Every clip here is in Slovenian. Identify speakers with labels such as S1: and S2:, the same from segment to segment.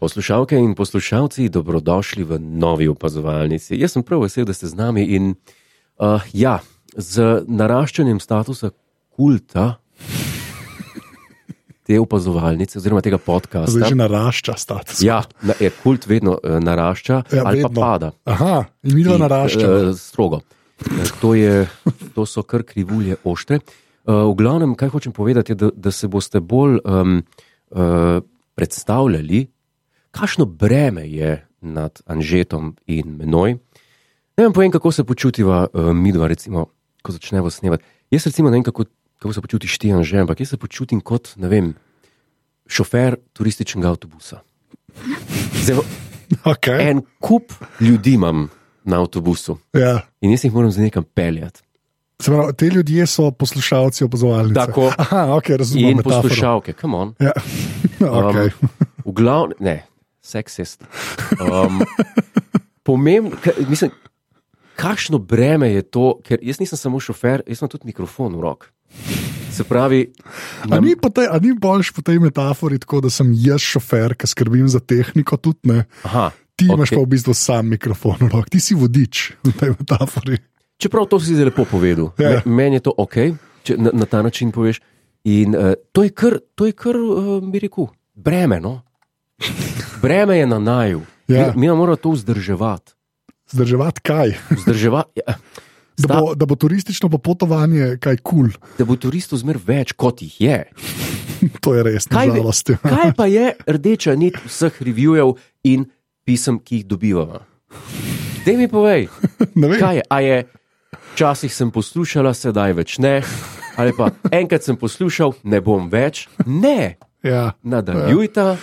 S1: Poslušalke in poslušalci, dobrodošli v novi opazovalnici. Jaz sem prav vesel, da ste z nami in uh, ja, z naraščanjem statusa kulta te opazovalnice oziroma tega podcasta.
S2: Zdaj že narašča status.
S1: Ja, na, je, kult vedno eh, narašča,
S2: Ja,
S1: ja, ali
S2: vedno.
S1: pa pada.
S2: Aha, in mi dva narašča.
S1: Eh, strogo. Eh, To, je, to so kar krivulje oštre. Eh, V glavnem, kaj hočem povedati, je, da, da se boste bolj um, uh, predstavljali, kakšno breme je nad Anžetom in menoj. Ne vem, povem, kako se počutiva uh, mi dva, recimo, ko začnemo snemati. Jaz recimo ne vem, kako, kako se počutiš ti, Anže, ampak jaz se počutim kot, ne vem, šofer turističnega avtobusa. Zdaj,
S2: Okay.
S1: en kup ljudi imam na avtobusu
S2: Ja.
S1: in jaz jih moram zdaj nekam peljati.
S2: Se pravi, te ljudje so poslušalci opazovalnice.
S1: Tako.
S2: Aha, ok, razumem.
S1: In Um,
S2: metaforo.
S1: poslušalke, kam on.
S2: Ja. okay.
S1: V glavnem, ne, seksist. Um, pomembno, ka- mislim, kakšno breme je to, ker jaz nisem samo šofer, jaz imam tudi mikrofon v roki. Se pravi,
S2: A
S1: nam,
S2: ni, po tej, a ni boljš po tej metafori tako, da sem jaz šofer, ki skrbim za tehniko, tudi ne.
S1: aha,
S2: Ti okay. imaš
S1: okej.
S2: pa v bistvu sam mikrofon, v roki. ti si vodič v tej metafori.
S1: Čeprav to si zdaj lepo povedal,
S2: Ja.
S1: yeah. meni je to ok, če na, na ta način poveš. In uh, to je kar, to je kar uh, bi rekel, breme. No? Breme je na naju.
S2: Ja.
S1: Yeah. Mi, mi moramo to vzdrževati.
S2: Zdrževati kaj?
S1: vzdrževati ja.
S2: Da
S1: Sta,
S2: bo, da bo turistično popotovanje kaj kul, cool.
S1: da bo turistov zmer več, kot jih je.
S2: to je res,
S1: Kaj bi-
S2: nažalost. ja.
S1: Kaj pa je rdeča nit vseh revijev in pisem, ki jih dobivamo? Dej mi povej,
S2: Ne vem.
S1: kaj je. A je včasih sem poslušala, sedaj več ne. Ali pa enkrat sem poslušal, ne bom več. Ne,
S2: Ja.
S1: nadaljujta,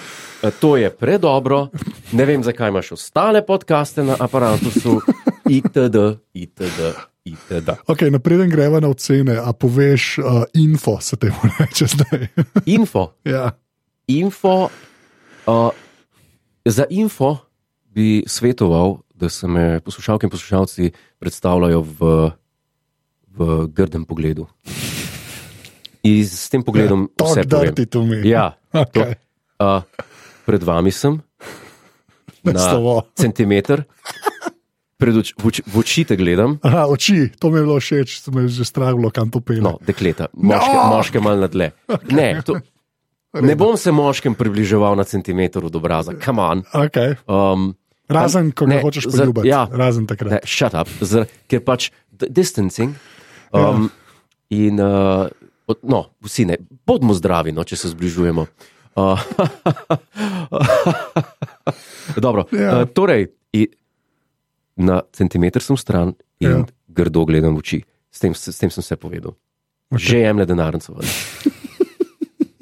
S1: to je predobro, ne vem, zakaj imaš ostale podcaste na aparatu, itd., itd., itd.
S2: Okay, Napreden no greva na ocene, a poveš uh, info, se temu reče zdaj.
S1: Info,
S2: ja.
S1: info, uh, za info bi svetoval, da se me poslušalke in poslušalci predstavljajo v, v grdem pogledu. In s tem pogledom ja,
S2: Talk
S1: vse povem.
S2: dirty to me.
S1: Ja,
S2: okay.
S1: uh, pred vami sem,
S2: na...
S1: na
S2: slovo.
S1: centimeter, pred oč, v, oč, v oči te gledam.
S2: Aha, oči, to mi je bilo všeč, to me je že straglo, kam to pele.
S1: No, dekleta, moške, no!
S2: No!
S1: moške malo na tle. Ne, to, ne bom se moškem približeval na centimeter od obraza, kamen.
S2: Okay.
S1: Um,
S2: Razen, ko ne,
S1: Ne,
S2: ga hočeš
S1: za-
S2: poljubiti.
S1: ja.
S2: Razen takrat.
S1: Ne, shut up, zr, ker pač d- distancing. Um, ja. In uh, od- no, vsi ne, bodimo zdravi, no, če se zbližujemo. Uh, Dobro,
S2: Ja.
S1: ja. uh, torej, i- na centimeter sem stran in
S2: Ja.
S1: ja. grdo gledam v oči. S tem, s tem sem vse povedal. Okay. Že jemlje denarnico. ven.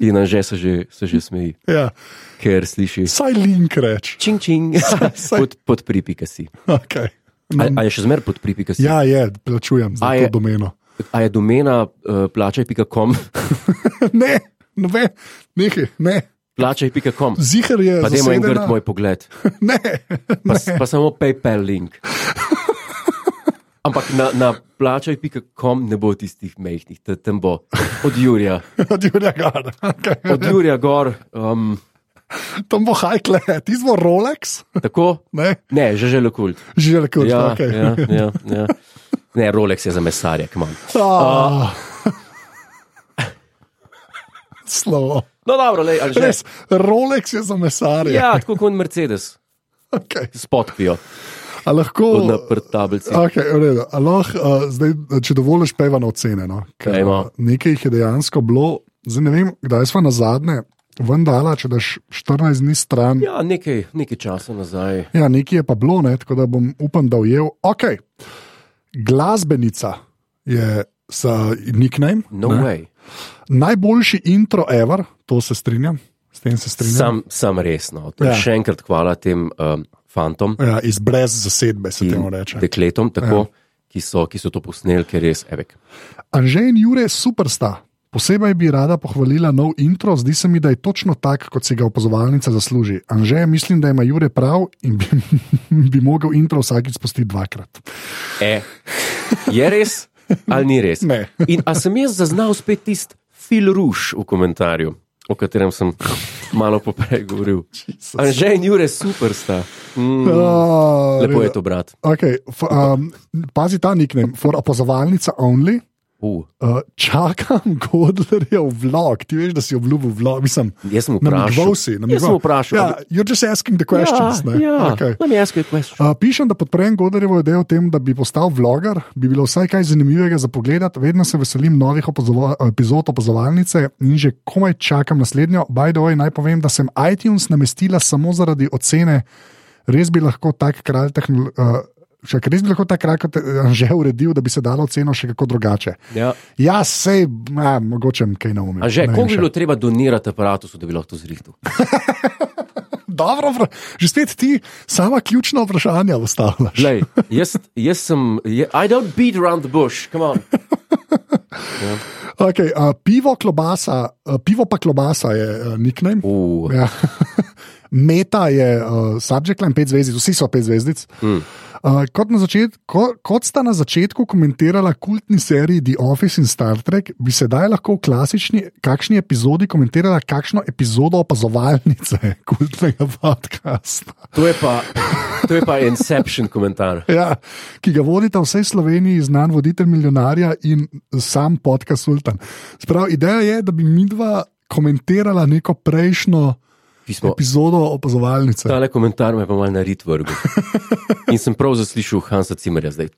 S1: In anže se že, se že smeji,
S2: Ja.
S1: ker sliši
S2: Saj link reč.
S1: čing čing
S2: saj-
S1: pod, pod pripika si.
S2: Okay.
S1: A, a je še zmeraj pod pripika si?
S2: No, Ja, je, plačujem za
S1: A
S2: to
S1: je-
S2: domeno.
S1: A je domena uh, plačaj.com,
S2: ne, ne, ve, nekaj, ne.
S1: plačaj.com,
S2: Zihar je.
S1: pa dajmo en grd
S2: zasedena.
S1: moj pogled,
S2: Ne,
S1: pa, s- pa samo PayPal link. Ampak na, na plačaj.com ne bo tistih mehkih, te- tam bo od Jurija,
S2: od Jurija Gara. Okay.
S1: od Jurija gor, um,
S2: Tam bo hajkle, ti smo Rolex,
S1: tako,
S2: ne,
S1: ne, že žele kult.
S2: že le kot
S1: Ja,
S2: okay.
S1: ja, ja, ja. Ne, Rolex je za mesarje, kmam.
S2: Ah. Slovo.
S1: No, dobro, le, ali že.
S2: Res, Rolex je za mesarje.
S1: Ja, tako kot Mercedes,
S2: Okay.
S1: spotpijo
S2: A lahko,
S1: na prt tablici.
S2: okay, v redu. A lahko uh, zdaj, če dovoliš, peva na ocene. No? Ker,
S1: Dajmo.
S2: eh, nekaj jih je dejansko bilo, zdaj ne vem, kdaj smo na zadnje, vendala, če daš 14 dni stran.
S1: Ja, nekaj, nekaj časa nazaj.
S2: Ja, nekaj je pa bilo, ne, tako da bom upam, da ujel. Ok, glasbenica je sa nickname.
S1: No
S2: ne.
S1: way.
S2: Najboljši intro ever, to se strinjam, s tem se strinjam.
S1: Sam, sam resno. Torej,
S2: Ja.
S1: ja. Še enkrat hvala tem um, fantom
S2: Ja, iz brez zasedbe se temu reče.
S1: in dekletom, tako, ja. ki, so, ki so to posneli, ker je res evek.
S2: Anže in Jure supersta. Posebej bi rada pohvalila nov intro, zdi se mi, da je točno tak, kot si ga opazovalnica zasluži. Anže, mislim, da ima Jure prav in bi, bi mogel intro vsakič spustiti dvakrat.
S1: E, je res ali ni res?
S2: Ne.
S1: In a sem jaz zaznal spet tisti fil ruš v komentarju. o katerem sem malo poprej govoril. Anže in Jure, super sta. Mm,
S2: Ah,
S1: lepo
S2: res.
S1: je to, brat.
S2: Okay, f, um, pazi ta nickname, for opozovalnica only.
S1: Uh,
S2: Uh, čakam Godlerjev vlog, ti veš, da si obljubil vlog. Mislim,
S1: jaz sem
S2: namigoval
S1: vprašal.
S2: si,
S1: jaz sem
S2: namigoval.
S1: vprašal.
S2: Ja, you're just asking the questions.
S1: ja,
S2: ne?
S1: ja.
S2: Okay.
S1: Let me ask you a question.
S2: Uh, pišem, da podprem Godarjevo idejo o tem, da bi postal vloger, bi bilo vsaj kaj zanimivega za pogled. Vedno se veselim novih opozova, epizod opazovalnice in že komaj čakam naslednjo. By the way, naj povem, da sem iTunes namestila samo zaradi ocene. Res bi lahko tak kralj tehnologije. Uh, Še res bi lahko ta kraj kot že uredil, da bi se dalo ceno še kako drugače.
S1: Ja.
S2: Ja, sej, a, mogoče bom kaj naumil.
S1: A že,
S2: Ne vem
S1: komu bi
S2: še.
S1: bilo treba donirati aparatu, da bi lahko to zrihtel?
S2: Dobro, vra- že spet ti sama ključna vprašanja postavljaš.
S1: Glej, jaz, jaz sem, je, I don't beat around the bush, come on.
S2: Okay, uh, pivo, klobasa, uh, pivo pa klobasa je uh, nickname.
S1: Uh,
S2: Ja. Meta je uh, subject line 5 zvezdic, vsi so 5 zvezdic. Mm. Uh, kot, na začet, ko, kot sta na začetku komentirala kultni seriji The Office in Star Trek, bi sedaj lahko v klasični, kakšni epizodi komentirala kakšno epizodo opazovalnice kultnega podcasta.
S1: to, je pa, to je pa Inception komentar.
S2: Ja, ki ga vodita v vsej Sloveniji znan voditelj milijonarja in sam podcast Sultan. Sprav, ideja je, da bi mi dva komentirala neko prejšnjo
S1: Pismo.
S2: epizodo opazovalnice.
S1: Tale komentar me je pa mal na rit vrgel. In sem prav zaslišal Hansa Cimerja zdaj.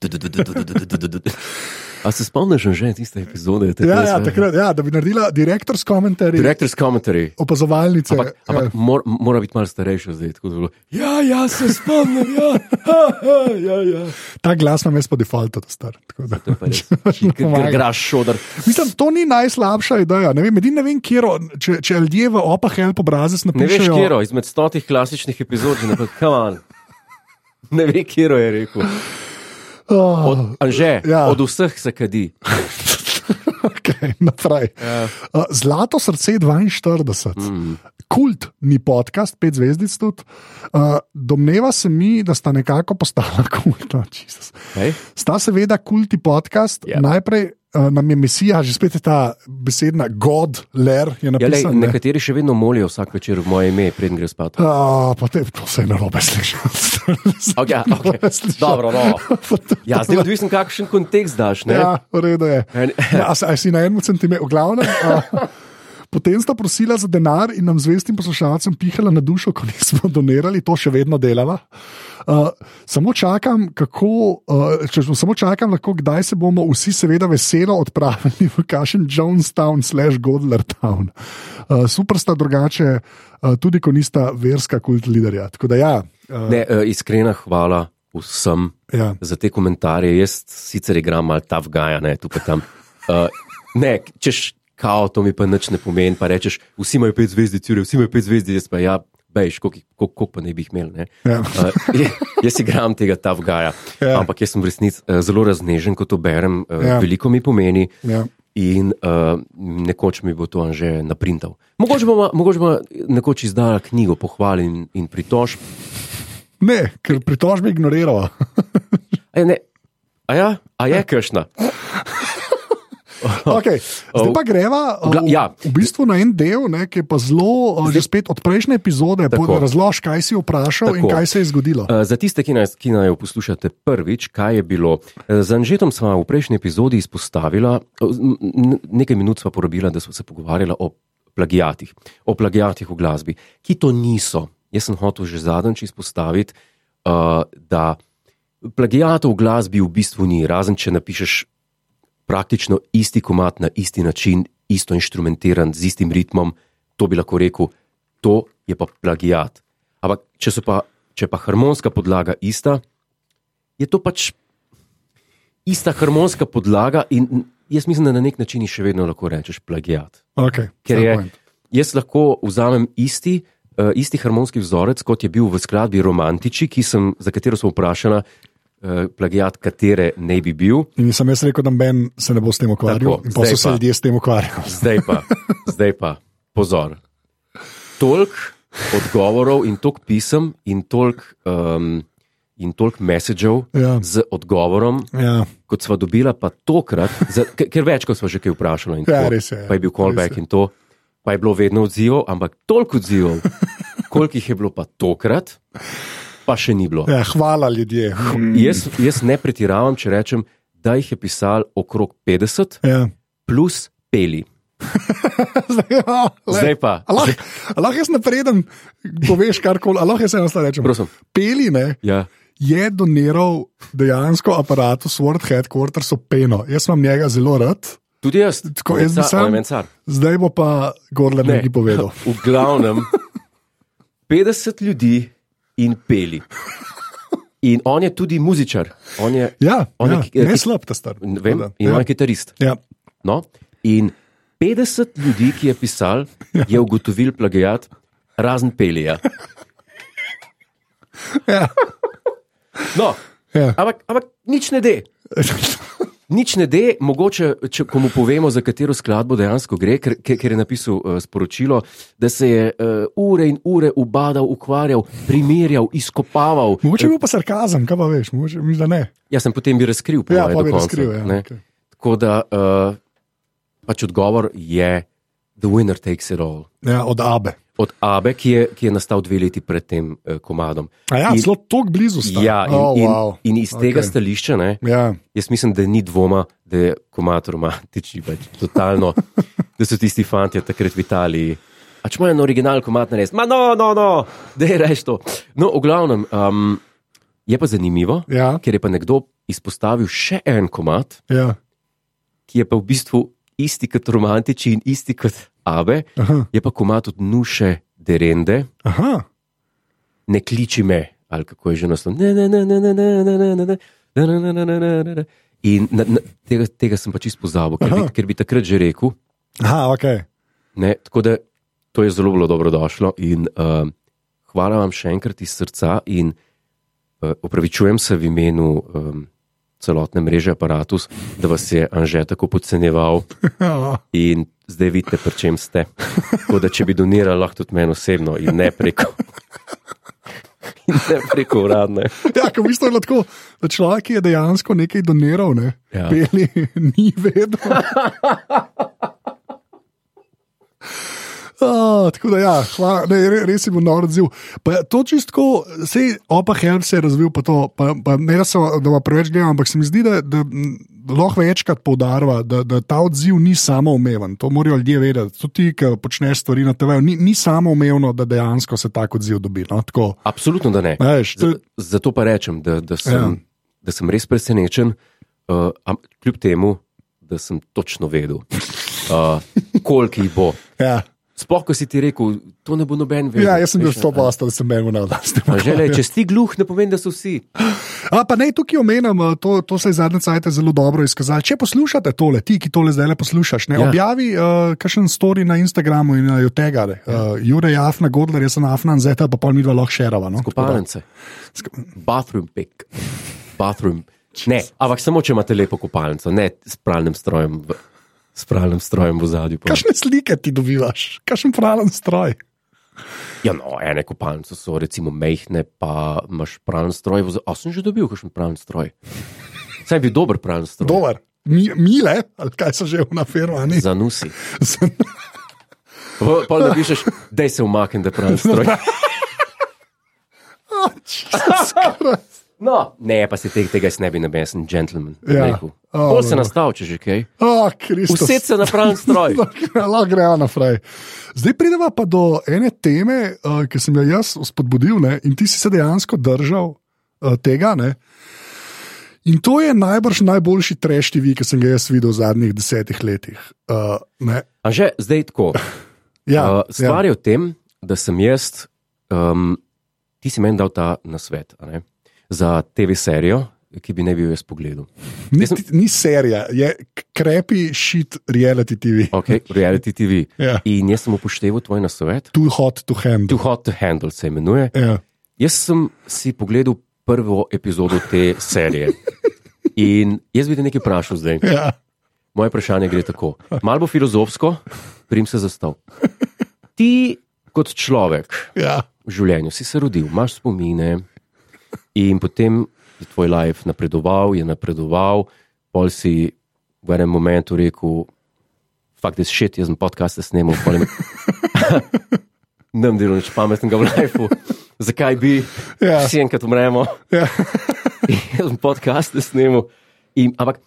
S1: A se spomniš že tiste epizode? Te
S2: Ja, ja, takrat, ja, da bi naredila direktor's commentary
S1: Director's commentary.
S2: opazovalnice.
S1: Ampak,
S2: Ja.
S1: ampak mor, mora biti malo starejši zdaj. tako da bi bilo, Ja, ja, se spomnim. Ja, ha, ha, ja, ja.
S2: Ta glas nam je po defaultu to star. tako da-
S1: Pa res, ki- ki- ki Graš šodar.
S2: Mislim, to ni najslabša ideja. Ne vem, edino ne vem, kjero, če, če ljudje v opah help obrazec
S1: Ne veš,
S2: napišejo.
S1: kjero, izmed stotih klasičnih epizod, že naprej, come on. Ne ve, kjero je rekel.
S2: Oh.
S1: Od, Anže, ja.
S2: Ja.
S1: od vseh se kadi.
S2: Okay, naprej.
S1: Ja.
S2: Uh, Zlato srce 42, mm. kult ni podcast, pet zvezdic tudi. Uh, domneva se mi, da sta nekako postala kultna. Jesus.
S1: Hej?
S2: Sta seveda kulti podcast.
S1: Ja.
S2: Yep. Najprej uh, nam je Mesija, že spet je ta besedna God, ler je
S1: Ja, lej,
S2: napisal. Ja,
S1: nekateri še vedno molijo vsak večer v moje ime, preden gre spat.
S2: Uh, potem to se je narobe slišal.
S1: Okay,
S2: Narobe
S1: okay.
S2: slišal.
S1: Dobro, no.
S2: Potem-
S1: Ja, zdaj je odvisno, kakšen kontekst daš. Ne?
S2: Ja, v redu je.
S1: En-
S2: Ja, a, si- a si na enem centimetru, glavno. Potem sta prosila za denar in nam zvestim poslušalcem pihala na dušo, ko nismo donirali, to še vedno delava. Uh, samo čakam, kako, uh, če, samo čakam lahko, kdaj se bomo vsi, seveda, veselo odpravili v Kašen Jonestown slash Godlertown. Uh, super sta drugače, uh, tudi ko nista verska kult liderja. Tako da ja, uh,
S1: Ne, eh, iskrena hvala vsem
S2: ja.
S1: za te komentarje. Jaz sicer igram malo ta vgaja, ne tu pa tam. Uh, ne, češ, kao, to mi pa nič ne pomeni. Pa rečeš, vsi imajo pet zvezdic, Jure, vsi imajo pet zvezdic, jaz pa ja, bejš, koliko jih- koliko- koliko pa ne bi jih imel. ne.
S2: Ja.
S1: Uh, je- jaz igram tega ta vgaja.
S2: Ja.
S1: Ampak jaz sem v resnici eh, zelo raznežen, ko to berem, eh,
S2: Ja.
S1: veliko mi pomeni.
S2: Ja.
S1: In uh, nekoč mi bo to Anže naprintal. Mogoče bomo, mogoče bomo nekoč izdala knjigo pohval in, in pritožb.
S2: Ne, ker pritožbe ignorirava.
S1: A je, ne, a ja, a je kršna.
S2: Okay. Zdaj pa greva eh,
S1: Gla-
S2: v,
S1: ja.
S2: v bistvu na en del, ne, ki je pa zelo, uh, že spet od prejšnje epizode,
S1: Tako.
S2: pod- razloži, kaj si vprašal in
S1: Tako.
S2: kaj se je zgodilo.
S1: Uh, Za tiste, ki nas, ki nas poslušate prvič, kaj je bilo. Eh, Z Anžetom smo v prejšnji epizodi izpostavila, eh, n- n- nekaj minut smo porabila, da smo se pogovarjali o plagijatih, o plagijatih v glasbi, ki to niso. Jaz sem hotel že zadnjič izpostaviti, eh, da plagijatov v glasbi v bistvu ni, razen če napišeš praktično isti komat na isti način, isto inštrumentiran, z istim ritmom, to bi lahko rekel, to je pa plagijat. Ampak če, so pa, če pa harmonska podlaga ista, je to pač ista harmonska podlaga in jaz mislim, da na nek način ji še vedno lahko rečeš plagijat.
S2: Okay,
S1: Ker
S2: fair
S1: je,
S2: point.
S1: jaz lahko vzamem isti, uh, isti harmonski vzorec, kot je bil v skladbi Romantiči, ki sem, za katero sem vprašana, uh, plagijat katere ne bi bil.
S2: In sem jaz rekel, da Ben se ne bo s tem ukvarjal,
S1: Tako,
S2: in pa
S1: zdaj
S2: so se
S1: pa.
S2: ljudje s tem ukvarjali.
S1: Zdaj pa, zdaj pa, pozor. Tolk odgovorov in tolk pisem in tolk, um, in tolk messagev
S2: Ja.
S1: z odgovorom,
S2: Ja,
S1: kot sva dobila pa tokrat, za, ke- ker več kot sva že kaj vprašala in
S2: Ja,
S1: tako,
S2: res je, ja,
S1: pa je bil
S2: res
S1: callback
S2: je.
S1: in to. pa je bilo vedno odzivov, ampak toliko odzivov, koliko jih je bilo pa tokrat, pa še ni bilo.
S2: Ja, hvala ljudje.
S1: Jaz, jaz ne pretiravam, če rečem, da jih je pisal okrog 50,
S2: Ja.
S1: plus peli.
S2: Zdaj, ja, le.
S1: Zdaj pa,
S2: A Lahko a lahko jaz napreden, poveš karkoli, a lahko jaz enostavno rečem.
S1: prosim.
S2: Peli ne,
S1: Ja.
S2: je doniral dejansko aparatu Sword Headquarters v Peno. Jaz imam njega zelo rad,
S1: Tudi jaz,
S2: Tako, jaz bi
S1: Mencar-
S2: sam-
S1: o, mencar.
S2: zdaj bo pa Gorler
S1: Ne.
S2: nekaj povedal.
S1: V glavnem, 50 ljudi in peli. In on je tudi muzičar, on je,
S2: Ja,
S1: On je
S2: ja,
S1: ki-
S2: ne
S1: ki-
S2: slab ta star.
S1: ne vem,
S2: Tako da,
S1: in on
S2: ja,
S1: je kitarist.
S2: ja.
S1: No? In 50 ljudi, ki je pisal, je ugotovil plagijat, razen pelija.
S2: Ja.
S1: No,
S2: Ja.
S1: ampak, ampak nič ne de. Nič ne de, mogoče, če ko mu povemo, za katero skladbo dejansko gre, ker, ker ker je napisal uh, sporočilo, da se je uh, ure in ure ubadal, ukvarjal, primerjal, izkopaval.
S2: Mogoče je bil pa sarkazem, kaj pa veš, mogoče, mislim, da ne.
S1: Jaz sem potem bi razkril, po
S2: Ja,
S1: moje,
S2: pa
S1: do
S2: bi
S1: konca,
S2: razkril. Ja,
S1: ne.
S2: okay.
S1: Tako da uh, pač odgovor je: The winner takes it all.
S2: ja, od Abe.
S1: Od Abe, ki je, ki je nastal dve leti pred tem uh, komadom.
S2: A ja,
S1: In-
S2: zelo tok blizu sta.
S1: Ja, in,
S2: oh,
S1: in,
S2: wow.
S1: in iz tega
S2: Ok.
S1: okay. stališča, ne,
S2: ja.
S1: jaz mislim, da ni dvoma, da je komad romantični, pač totalno, da so tisti fanti takrat v Italiji. A če imajo en original komad na res, ma no, no, no, da je reš to. No, v glavnem, um, je pa zanimivo,
S2: Ja,
S1: ker je pa nekdo izpostavil še en komad,
S2: ja.
S1: ki je pa v bistvu isti kot romantični in isti kot Abe,
S2: Aha,
S1: je pa komad od Nuše Derende,
S2: aha.
S1: ne kliči me, ali kako je že naslov. Ne, ne, ne, ne, ne, ne, ne, ne, ne, ne, ne, ne, ne, ne, ne, ne, ne, ne. In na, na, tega, tega sem pač izpozabil, ker, bi-
S2: Aha.
S1: ker bi takrat že rekel.
S2: aha okay.
S1: Ne, tako da to je zelo bilo dobrodošlo in uh, hvala vam še enkrat iz srca in uh, opravičujem se v imenu um, celotne mreže Apparatus, da vas je Anže tako podcenjeval
S2: Ja.
S1: in zdaj vidite, pri čem ste. Tako da če bi donirali, lahko tudi meni osebno in ne preko. In ne preko uradne.
S2: Ja, ko v bistvu je bilo tako, da človek ki je dejansko nekaj doniral, ne?
S1: Ja.
S2: Peli, ni vedel. Oh, tako da, ja, hvala, ne, re- res je bil nor odziv. Pa To čistko, sej opa Helm se je razvil, pa to, pa, pa ne da se da preveč gledam, ampak se mi zdi, da, da m, lahko večkrat poudarva, da, da ta odziv ni samoumeven. To morajo ljudje vedeti. Tudi ti, ki počneš stvari na TV, ni, ni samoumevno, da dejansko se tak odziv dobi. No? Tako,
S1: Absolutno, da ne.
S2: a veš, to,
S1: Z- Zato pa rečem, da, da, sem,
S2: Ja.
S1: ja. da sem res presenečen, uh, am, kljub temu, da sem točno vedel, uh, koliko jih bo.
S2: ja.
S1: Sploh, ko si ti rekel, to ne bo noben vedel.
S2: Ja, jaz sem bil
S1: Veš, a-
S2: 100% da sem menil na oblast.
S1: a že le, Če si gluh, ne pomeni, da so vsi.
S2: A pa naj tukaj omenjam, eh, to, to se je zadnje cajt zelo dobro izkazalo. Če poslušate tole, ti, ki tole zdaj le poslušaš, ne, ja.
S1: Ja.
S2: objavi uh, kakšen story na Instagramu in uh, tega. Uh, Jure je Afna Godler, jaz sem Afna Zeta, pa pol mi dva lahko šerava. No?
S1: Kopalnice. Bathroom pick. Bathroom. Ne, ampak samo če imate lepo kopalnico, ne s pralnim strojem v, s pralnim strojem v zadju.
S2: Kakšne slike ti dobivaš, kakšen pralen stroj.
S1: Ja, no, ene kopalnice so recimo mehne, pa imaš pralni stroj. v za- A sem že dobil kakšen pralni stroj? Saj bi dober pralni stroj.
S2: Dober. Mi, mile, ali kaj so že na firmani.
S1: Za nusi. Pa- Pa napišeš, da se umaknem, da je pralni stroj. No, ne, pa se tega, tega jaz ne bi nabil, jaz sem gentleman.
S2: Ja.
S1: Ja.
S2: O,
S1: Pol se
S2: dobro.
S1: nastavi, če že kaj.
S2: Oh, Kristus.
S1: Vse se na pralni stroj.
S2: Lahko gremo naprej. Zdaj pridemo pa do ene teme, uh, ki sem jo jaz spodbudil ne, in ti si se dejansko držal uh, tega. Ne. In to je najbrž najboljši trešti vi, ki sem ga jaz videl v zadnjih desetih letih. Uh, ne.
S1: Anže, zdaj tako.
S2: ja,
S1: Uh, stvar je v tem, da sem jaz, um, ti si meni dal ta nasvet a ne, za TV serijo, ki bi ne bil jaz pogledal.
S2: ja. ni,
S1: jaz sem-
S2: ti- ni serija, je k- krepi shit reality TV.
S1: Okay, reality TV.
S2: Ja.
S1: In jaz sem upošteval tvoj nasvet,
S2: Too hot to handle.
S1: Too Hot to Handle se imenuje.
S2: Ja.
S1: Jaz sem si pogledal prvo epizodo te serije. In jaz bi te nekaj vprašal zdaj.
S2: Ja.
S1: Moje vprašanje gre tako. Malo bo filozofsko, prim se zastav. Ti kot človek,
S2: Ja.
S1: v življenju, si se rodil, imaš spomine in potem je tvoj life napredoval, je napredoval, pol si v enem momentu rekel, fuck this shit, jaz sem podcaste snemal, polem. Ne bom delal nič pametnega v lifeu. Zakaj bi?
S2: Ja.
S1: Vsi enkrat umremo.
S2: Ja.
S1: Jaz sem podcaste snemal. In, ampak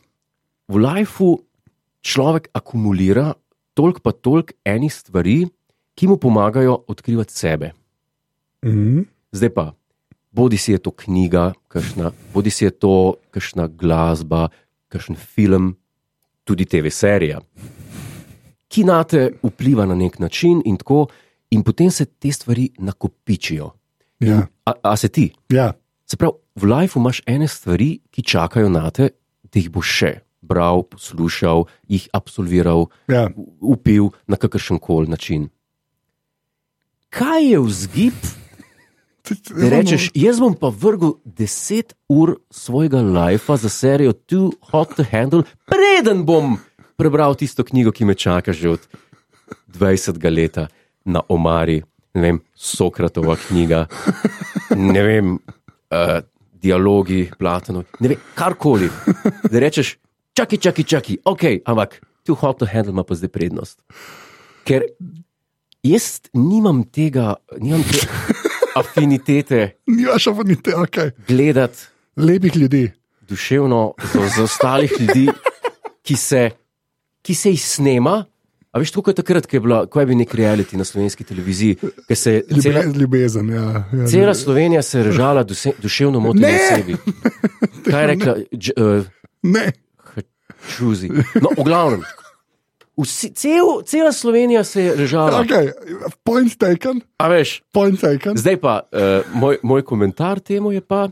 S1: v lifeu človek akumulira toliko pa toliko enih stvari, ki mu pomagajo odkrivati sebe.
S2: Mm.
S1: Zdaj pa, bodi si je to knjiga, kakšna, bodi si je to kakšna glasba, kakšen film, tudi TV-serija, ki na te vpliva na nek način in tako, in potem se te stvari nakopičijo.
S2: Ja.
S1: A, a se ti?
S2: ja,
S1: Se pravi, v lifeu imaš ene stvari, ki čakajo na te, da jih boš še bral, poslušal, jih absolviral,
S2: ja.
S1: upil na kakršen koli način. Kaj je vzgib? Ti rečeš, jaz bom pa vrgel 10 ur svojega lajfa za serijo Too Hot to Handle, preden bom prebral tisto knjigo, ki me čaka že od 20. leta na Omari, ne vem, Sokratova knjiga, ne vem, uh, dialogi Platonov, ne vem, karkoli. Da rečeš, čakaj, čakaj, čakaj, ok, ampak Too Hot to Handle ima pa zdaj prednost. Ker jaz nimam tega, nimam te afinitete
S2: Nimaš afinitete, okay.
S1: gledati
S2: lepih ljudi.
S1: duševno za, za ostalih ljudi, ki se, ki se jih snema. A veš, tako kot takrat, ko je, bila, ko je bil nek reality na slovenski televiziji, ki se je cela,
S2: Ljubezen, ljubezen ja, ja,
S1: cela Slovenija se je režala duse, duševno motena
S2: Ne!
S1: osebi. Kaj je rekla? Dž, uh,
S2: Ne,
S1: čuzi. No, v glavnem. Vsi, cel, cela Slovenija se je režala.
S2: okay. point taken,
S1: A veš,
S2: point taken.
S1: zdaj pa uh, moj, moj komentar temu je pa.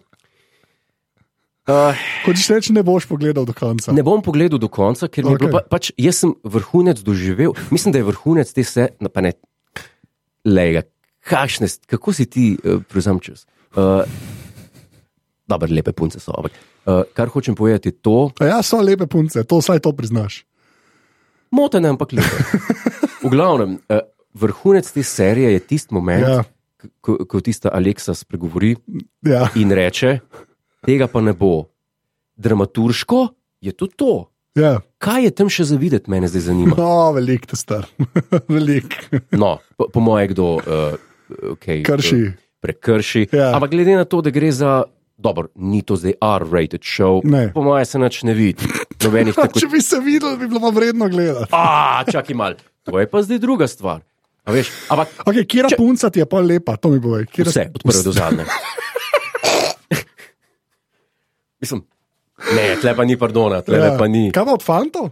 S1: Uh,
S2: Kot si reče, ne boš pogledal do konca.
S1: Ne bom pogledal do konca, ker okay.
S2: Ja. Okej.
S1: pa, pač jaz sem vrhunec doživel. Mislim, da je vrhunec te vse, no pa ne, lega, kašne, s- kako si ti uh, prevzem čas. Uh, Dober, lepe punce so. Ampak, uh, kar hočem povedati, je to,
S2: A Ja, so lepe punce, to vsaj to priznaš.
S1: motene, ampak lepe. V glavnem, uh, vrhunec te serije je tisti moment,
S2: Ja.
S1: ja. ko, ko tista Aleksa spregovori
S2: Ja,
S1: in reče: tega pa ne bo. Dramaturško je to to.
S2: ja.
S1: Kaj je tam še za videti, mene zdaj zanima.
S2: No, velik te star, velik,
S1: No, po, po mojem, kdo uh, okay,
S2: krši.
S1: prekrši.
S2: Ja.
S1: Ja. Ampak glede na to, da gre za. Dobro, ni to zdaj R-rated show,
S2: Ne. Ja,
S1: po mojem se nič ne vidi. Nobenih tako.
S2: Če bi se videl, bi bilo pa vredno gledati.
S1: A, čakaj mal, to je pa zdaj druga stvar. A veš, ampak
S2: Okay, Kjer Če... punca ti je pa lepa, to mi boje. Kjera...
S1: vse, od prve do zadnje. Mislim, ne, tle pa ni pardona, tle ja. pa ni.
S2: Kaj pa od fantov?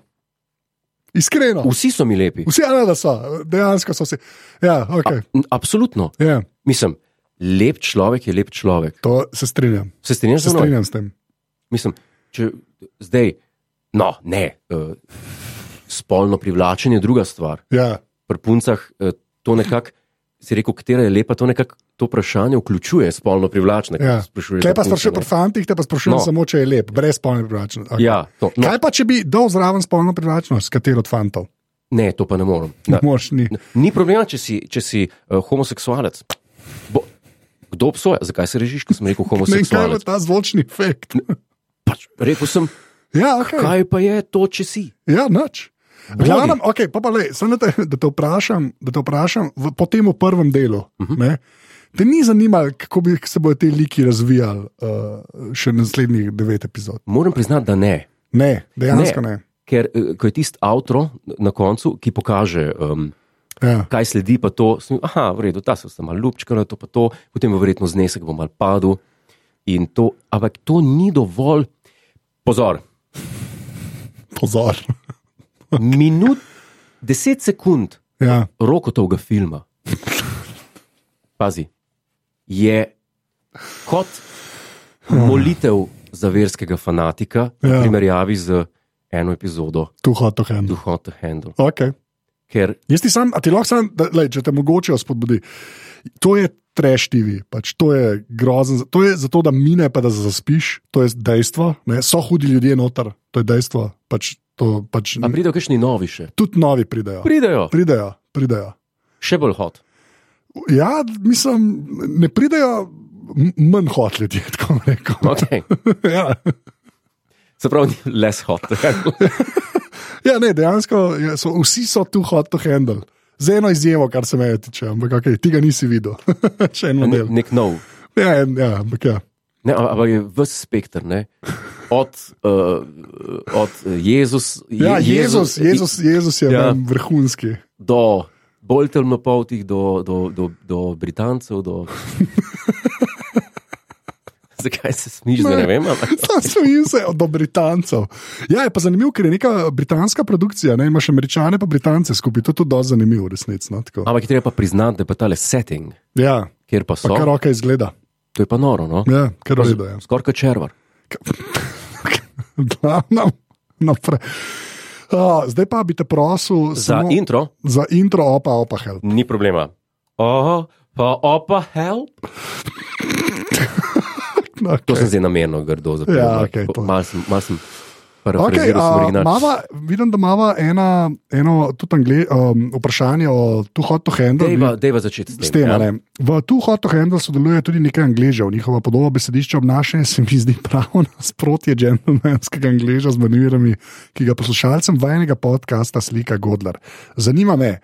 S2: Iskreno.
S1: Vsi so mi lepi.
S2: Vsi ena, da so, dejansko so vsi. Ja, okay.
S1: N- Absolutno.
S2: ja,
S1: Mislim, lep človek je lep človek.
S2: to se strinjam.
S1: Se strinjaš
S2: Se
S1: z mano?
S2: strinjam s tem.
S1: Mislim, če zdaj, no, ne, uh, spolno privlačenje je druga stvar.
S2: Ja,
S1: Pri puncah uh, to nekako, si rekel, katera je lepa, to nekako to vprašanje vključuje spolno privlačne. ko
S2: ja.
S1: sprašuješ
S2: Kaj
S1: za
S2: pa
S1: punce,
S2: sprašujem
S1: ne.
S2: pri fantih, te pa sprašujem
S1: No.
S2: no. samo, če je lep, brez spolne privlačnosti. Okay.
S1: Ja, to, no,
S2: Kaj pa, če bi dal zraven spolno privlačnost, s katero od fantov?
S1: ne, to pa ne morem.
S2: Ne
S1: Da,
S2: moreš, ni.
S1: ni problema, če si, če si uh, homoseksualec. Bo, kdo obsoja? Zakaj se režiš, ko sem rekel
S2: Ne, vem, kaj je
S1: homoseksualec?
S2: ta zvočni efekt?
S1: Pač, rekel sem,
S2: Ja, okay.
S1: kaj pa je to, če si?
S2: Ja, noč. Glavnem, okay, pa pa le, samo da, te- da te vprašam, da te vprašam v, po tem v prvem delu. Uh -huh. ne, te ni zanimalo, kako bi se bodo ti liki razvijali uh, še naslednjih devet epizod.
S1: Moram priznati, da ne.
S2: Ne, dejansko ne.
S1: Ker eh, ko je tisti avtor na koncu, ki pokaže, um,
S2: ne. Ja.
S1: kaj sledi, pa to, sem, aha, v redu, ta se sem malo ljubčkala, to pa to, potem bo verjetno znesek bo mal padel. in To, ampak to ni dovolj. Pozor,
S2: Pozor.
S1: minut, deset sekund
S2: Ja.
S1: roko tega filma, pazi, je kot molitev za verskega fanatika,
S2: Ja.
S1: v primerjavi z eno epizodo
S2: Tu hoto hen.
S1: Duhot to Handle.
S2: Okay.
S1: Ker
S2: Jaz ti sam, a ti lahko sam, da, lej, če te mogoče spodbudi. To je trash TV, pač, to je grozen, za- to je zato, da mine, pa da zaspiš, to je dejstvo. Ne? So hudi ljudje noter, to je dejstvo. Pač, to, pač,
S1: Pa pridejo kakšni novi še.
S2: tudi novi pridejo.
S1: Pridejo,
S2: Pridejo, pridejo.
S1: še bolj hot.
S2: Ja, mislim, ne pridejo m- manj hot ljudje, tako bom rekel.
S1: Okay.
S2: ja.
S1: Se pravi, ni less hot.
S2: Ja, ne, dejansko je- so, vsi so tu hot to handle. Z eno izjemo, kar se meje tiče, ampak okay, tega nisi videl. Še en
S1: Ne,
S2: model.
S1: nek nov.
S2: Ja, en, ja, ampak ja.
S1: Ne, a- ampak je vse spektr. Ne? Od, uh, od eh, Jezus, je,
S2: ja Jezus, Jezus, Jezus je
S1: Ja.
S2: ja. vrhunski.
S1: do bolj temnopoltih, do, do, do, do Britancev. Do... Zakaj se smiš, da ne
S2: Ne.
S1: vem? Ampak...
S2: Stojim se od Britancev. Ja, je pa zanimivo, ker je neka britanska produkcija, ne imaš američane, pa britance skupaj. To je tudi dosti zanimivo, resnico. No, tako.
S1: Ampak je treba pa priznati, da je pa tale setting,
S2: ja,
S1: kjer pa
S2: pa
S1: so,
S2: kar roka izgleda.
S1: to je pa noro. No?
S2: Ja, kar razgleda. Ja.
S1: Skoraj kot červar.
S2: Glavnem, naprej. Uh, zdaj pa bi te prosil
S1: Za
S2: samo,
S1: intro
S2: za intro, opa, opa, help.
S1: ni problema. Oho, pa opa, help.
S2: No,
S1: To
S2: Okay.
S1: sem zdaj namerno grdo zapisal.
S2: Ja, okej, to-
S1: Mal sem, mal sem
S2: Okay,
S1: parafraziral sem
S2: uh,
S1: original.
S2: mava, vidim, da imamo ena, eno tudi angle, um, vprašanje o tu hot to handle.
S1: Dejva, dejva začeti s tem.
S2: S tem,
S1: ja.
S2: a ne. v tu hot to handle sodeluje tudi nekaj angližev, njihova podoba besedišča obnašanja se mi zdi pravo nasprotje džentlmenskega angliža z manirami, ki ga poslušalcem vajenega podcasta slika Godler. Zanima me,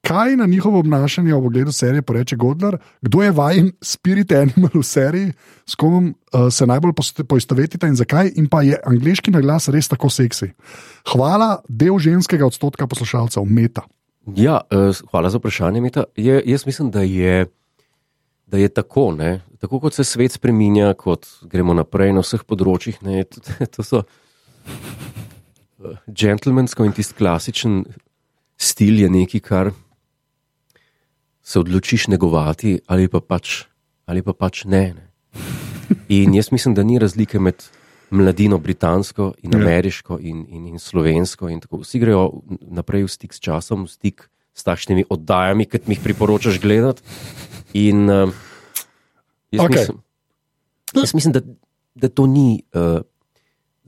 S2: kaj na njihovo obnašanje ob ogledu serije poreče Godler, kdo je vajen spirit animal v seriji, s kom uh, se najbolj post- poistovetite in zakaj, in pa je angliški naglas res tako seksi. Hvala, del ženskega odstotka poslušalcev, meta.
S1: Ja, eh, hvala za vprašanje. Meta. Je, jaz mislim, da je, da je tako, ne? tako kot se svet spremenja, kot gremo naprej na vseh področjih. Ne? Tudi, to so eh, džentlmensko in tisti klasičen stil je nekaj, kar se odločiš negovati ali pa pač, ali pa pač ne, ne. In jaz mislim, da ni razlike med mladino britansko in
S2: Ja.
S1: ameriško in, in, in slovensko. In tako. Vsi grejo naprej v stik s časom, v stik s takšnimi oddajami, kot mi jih priporočaš gledati. In uh, jaz,
S2: Okej.
S1: okay. mislim, jaz mislim, da, da to ni. Uh,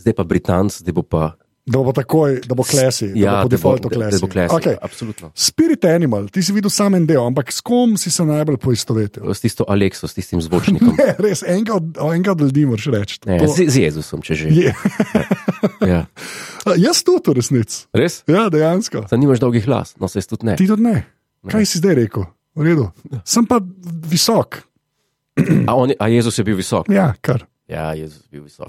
S1: Zdaj pa Britanc, zdaj bo pa.
S2: Da bo takoj, da bo klasi, ja, da bo
S1: da
S2: po
S1: bo-
S2: defaultu
S1: da- da bo
S2: klasi.
S1: klasi.
S2: Okay.
S1: Okay. Absolutno.
S2: Spirit Animal, ti si videl samo en del, ampak s kom si se najbolj poistovetil?
S1: S tisto Alekso, s tistim zvočnikom.
S2: Ne, res, enega od, enega od ljudi moraš reči.
S1: Ne,
S2: To-
S1: z, z Jezusom, če že.
S2: Je.
S1: Ja.
S2: Jaz tudi v resnici,
S1: Res?
S2: ja, dejansko.
S1: Saj nimaš dolgih las, no se jaz tudi ne.
S2: Ti tudi ne. Kaj si zdaj rekel? V redu. Sem pa visok.
S1: A, on, je- a Jezus je bil visok.
S2: Ja, kar.
S1: Ja, Jezus je bil visok.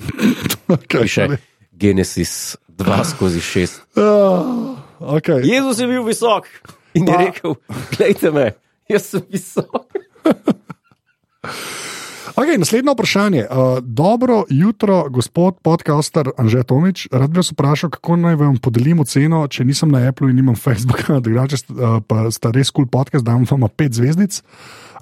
S2: Okay,
S1: Piše Genesis 2 skozi 6.
S2: Uh, okay.
S1: Jezus je bil visok in je
S2: Pa-
S1: rekel: Glejte me, jaz sem visok.
S2: Okay, naslednje vprašanje. Uh, dobro jutro, gospod podcaster Anže Tomič. Rad bi vas vprašal, kako naj vam podelim oceno, če nisem na Apple in nimam Facebooka, drugače st- uh, pa sta res kul cool podcast, dam vam pet zvezdic.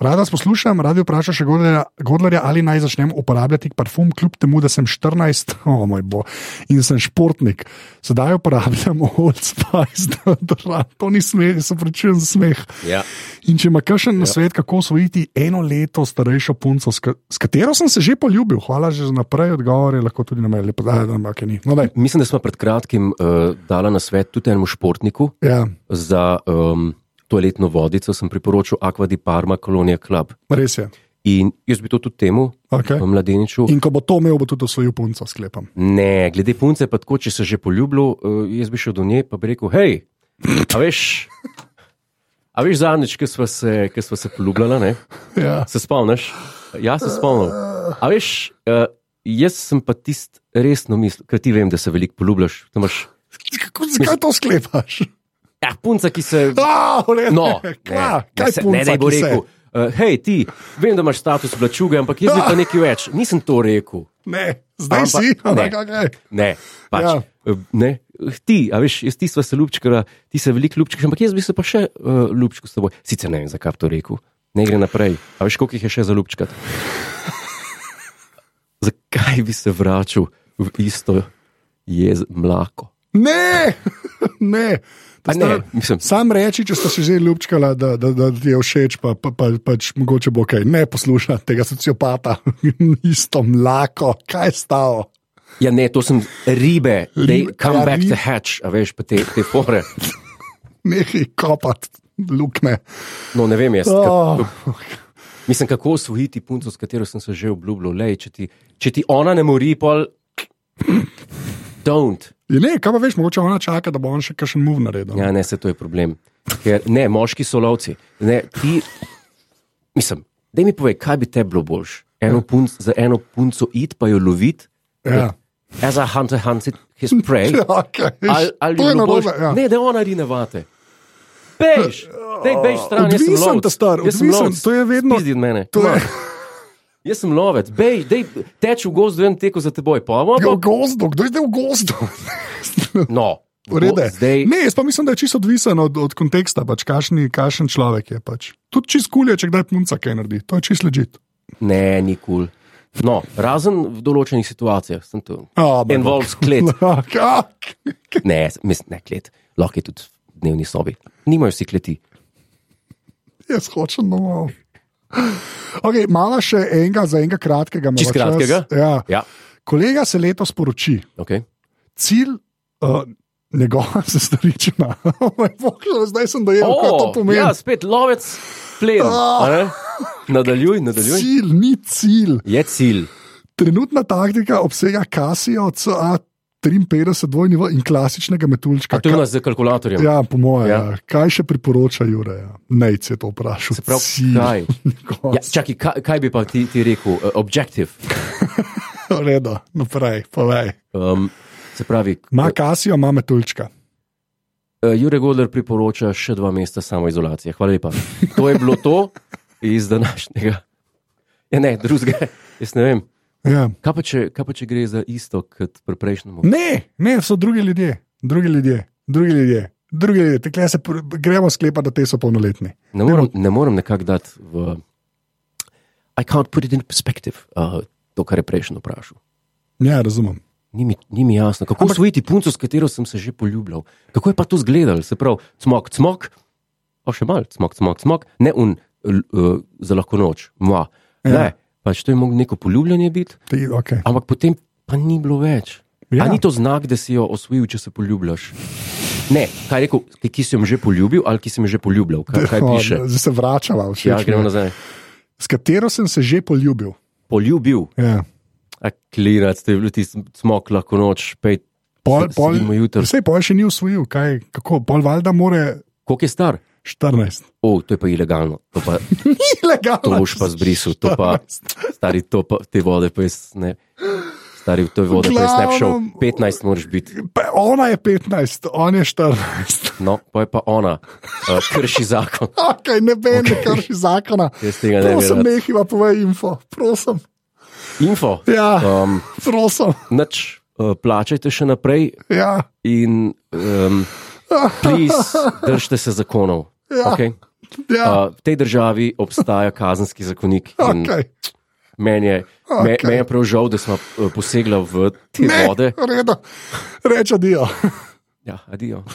S2: Rada vas poslušam, rad bi vprašal še Godlerja, Godlerja, ali naj začnem uporabljati parfum, kljub temu, da sem 14, oh moj bog, in sem športnik. Sedaj uporabljam Old Spice, da, da, da, to ni smeh, se prečujem za smeh.
S1: Ja.
S2: In če ima kakšen ja. svet, kako osvojiti eno leto starejšo punco, s, ka s katero sem se že poljubil, hvala že za naprej, odgovor je lahko tudi na meni, lepo da nam kaj ni. No, daj.
S1: Mislim, da smo pred kratkim uh, dali na svet tudi enemu športniku
S2: ja,
S1: za um, toaletno vodico, sem priporočil Aquadi Parma Colonija Club.
S2: res je.
S1: In jaz bi to tudi temu,
S2: Okay.
S1: okay. mladeniču.
S2: In ko bo to imel, bo tudi osvojil punco, sklepam.
S1: Ne, glede punce, pa tako, če se že poljubil, eh, jaz bi šel do nje in bi rekel: hej, a veš, a veš zadnjič, ki sva se, ko sva se poljubljala, ne?
S2: Ja.
S1: se spomniš? Ja, se spomnim. A veš, eh, jaz sem pa tisti resno mislil, ker ti vem, da se veliko poljubljaš. to Imaš,
S2: Kako, zakaj to sklepaš?
S1: ja, punca, ki se.
S2: Ah, ne,
S1: No, ne,
S2: Kva,
S1: ne,
S2: kaj
S1: se-
S2: punca,
S1: ne, da ji bo
S2: ki se-
S1: rekel. Uh, hej, ti, vem, da imaš status blačuga, ampak jaz bi pa nekaj več. Nisem to rekel.
S2: Ne, zdaj
S1: Ampak-
S2: si, ampak
S1: ne.
S2: okay.
S1: Ne, pač.
S2: Ja.
S1: Ja. Ne, ti, a veš, jaz ti sva se ljubčkala, ti se veliko ljubčkaš, ampak jaz bi se pa še uh, ljubčkal s teboj. Sicer ne vem, zakaj bi to rekel, ne gre naprej. A veš, koliko jih je še za ljubčkati? zakaj bi se vračal v isto jez, mlako?
S2: ne, ne. To
S1: Pa ne,
S2: sta-
S1: mislim,
S2: Sam reči, če ste se že ljubčkala, da, da, da ti je všeč, pa, pa, pa pač mogoče bo kaj. Ne posluša tega sociopata, isto mlako, kaj je stalo.
S1: ja, ne, to sem ribe, they
S2: Ribe,
S1: come
S2: ja,
S1: back
S2: ribe.
S1: to hatch, a veš, pa te, te fore.
S2: Nehaj kopati, lukne.
S1: No, ne vem, jaz.
S2: Oh.
S1: Oh. Mislim, kako osvojiti punco, s katero sem se že obljubljal. Lej, če, ti, če ti ona ne mori, pol. Don't.
S2: Je, ne, kaj pa veš, mogoče ona čaka, da bo on še kakšen mov naredil.
S1: Ja, ne, se to je problem. Ker, ne, moški so lovci. Ne, ti, mislim, da mi povej, kaj bi te bilo boljš? Eno punc, za eno punco id pa jo loviti,
S2: Ja.
S1: as a hunter hunts it his prey.
S2: Ja, okay.
S1: Ali, ali
S2: to je
S1: bi bilo boljš,
S2: narobe. Ja.
S1: ne, da ona rine vate. Bež, dej bež stran, jaz sem
S2: Odvisen
S1: lovec.
S2: ta star,
S1: Jaz sem
S2: odvisen,
S1: lovec.
S2: to je vedno-
S1: Spizdi od mene.
S2: To je
S1: Jaz sem lovec, bež, dej, teč v gozdu, vem teko za teboj, pa vam
S2: v
S1: bo.
S2: gozdu, kdo je zdaj v gozdu?
S1: No,
S2: V redu
S1: bo
S2: je.
S1: zdaj,
S2: Ne, jaz pa mislim, da je čisto odvisen od, od konteksta, pač, kašni, kašen človek je. Pač. Tudi čist kulje, če kdaj punca kaj naredi, to je čist ležit.
S1: ne, nikul. No, razen v določenih situacijah sem tu. Involves klet.
S2: Ja,
S1: Ne, mislim, ne klet, lahko je tudi v dnevni sobi. Nimajo vsi kleti.
S2: Jaz hočem domov. Okay, Mala še enega, za enega kratkega.
S1: Čisto
S2: imava čas.
S1: kratkega?
S2: Ja.
S1: Ja,
S2: Kolega se letos poroči,
S1: okay.
S2: cilj uh, njegova sestarična. Moj bog, Zdaj sem dojel, oh, kaj to pomeni.
S1: ja, spet lovec, plen.
S2: Ah.
S1: a ne? Nadaljuj, nadaljuj.
S2: Cilj ni cilj.
S1: Je cilj.
S2: Trenutna taktika obsega Kasijo, CA53, dvojni V in klasičnega metulčka.
S1: To je nas z kalkulatorjem.
S2: ja, po mojem.
S1: Ja.
S2: Ja. Kaj še priporoča Jure? Ja. Najc je to vprašal.
S1: Se pravi,
S2: Cilj.
S1: kaj?
S2: Nikoli.
S1: Ja, čakaj, kaj, kaj bi pa ti, ti rekel? Uh, objective.
S2: V redu, naprej, povej.
S1: Um, se pravi,
S2: Ma Kasijo, ima metulčka.
S1: uh, Jure Godler priporoča še dva meseca samoizolacije. Hvala lepa. To je bilo to iz današnjega. Ja, ne, drugega. Jaz ne vem.
S2: Ja.
S1: Kaj pa, če, kaj pa če gre za isto kot pri prejšnjemu?
S2: Ne, ne, so drugi ljudje, drugi ljudje, drugi ljudje. Drugi ljudje, tekle se pr- gremo sklepati, da te so polnoletni.
S1: Ne morem, ne morem nekako dati v. I can't put it in perspective, uh, to, kar je prejšnji vprašal.
S2: Ja, razumem.
S1: Ni mi, ni mi jasno, kako Ampak... usvojiti punco, s katero sem se že poljubljal. Kako je pa to zgledalo, se pravi, cmok, cmok, pa še mal, cmok, cmok, cmok, ne un l- uh, za lahko noč, mla.
S2: Ja.
S1: Ne, pač to je moglo neko poljubljanje biti,
S2: Ti, okay.
S1: ampak potem pa ni bilo več.
S2: Ja.
S1: Ja. Ni to znak, da si jo osvojil, če se poljubljaš? Ne, kaj je rekel, ki- ki sem že poljubil ali ki sem že poljubljal, kaj, kaj
S2: O,
S1: piše.
S2: Zdaj se vračava,
S1: Ja,
S2: všeč.
S1: gremo
S2: mi je.
S1: nazaj.
S2: S katero sem se že poljubil.
S1: Poljubil.
S2: Ja.
S1: A klirac, to je bil tisti smog, lahko noč, pet,
S2: Pol,
S1: Se-
S2: pol,
S1: sedimo jutro.
S2: vse pol še ni usvojil, kaj, kako, pol valjda more
S1: koliko je star?
S2: 14.
S1: O, to je pa ilegalno, to, pa,
S2: Ilegalno.
S1: to boš pa zbrisal, to pa, stari, to pa, te vode pa jaz ne. Stari, to je vode, pa jaz ne bi šel,
S2: Glavnem- 14
S1: 15 moraš biti,
S2: Pa Ona je 15, on je 14.
S1: no, pa je pa ona, uh, krši zakon.
S2: Okay, ne vem, okay. ne krši zakona.
S1: Jaz tega ne bi
S2: Prosim,
S1: rad.
S2: nehaj pa povej info, prosim.
S1: Info,
S2: Ja,
S1: um,
S2: prosim.
S1: nič, uh, plačajte še naprej
S2: Ja.
S1: in, um, please, držite se zakonov.
S2: Ja.
S1: Okay? Uh,
S2: Ja,
S1: v tej državi obstaja kazenski zakonik in
S2: okay.
S1: Meni je, okay.
S2: Okej.
S1: me, me je prav žal, da smo eh, posegli v te ne.
S2: Ne,
S1: vode.
S2: v redu. Reče Dio.
S1: Ja, adijo.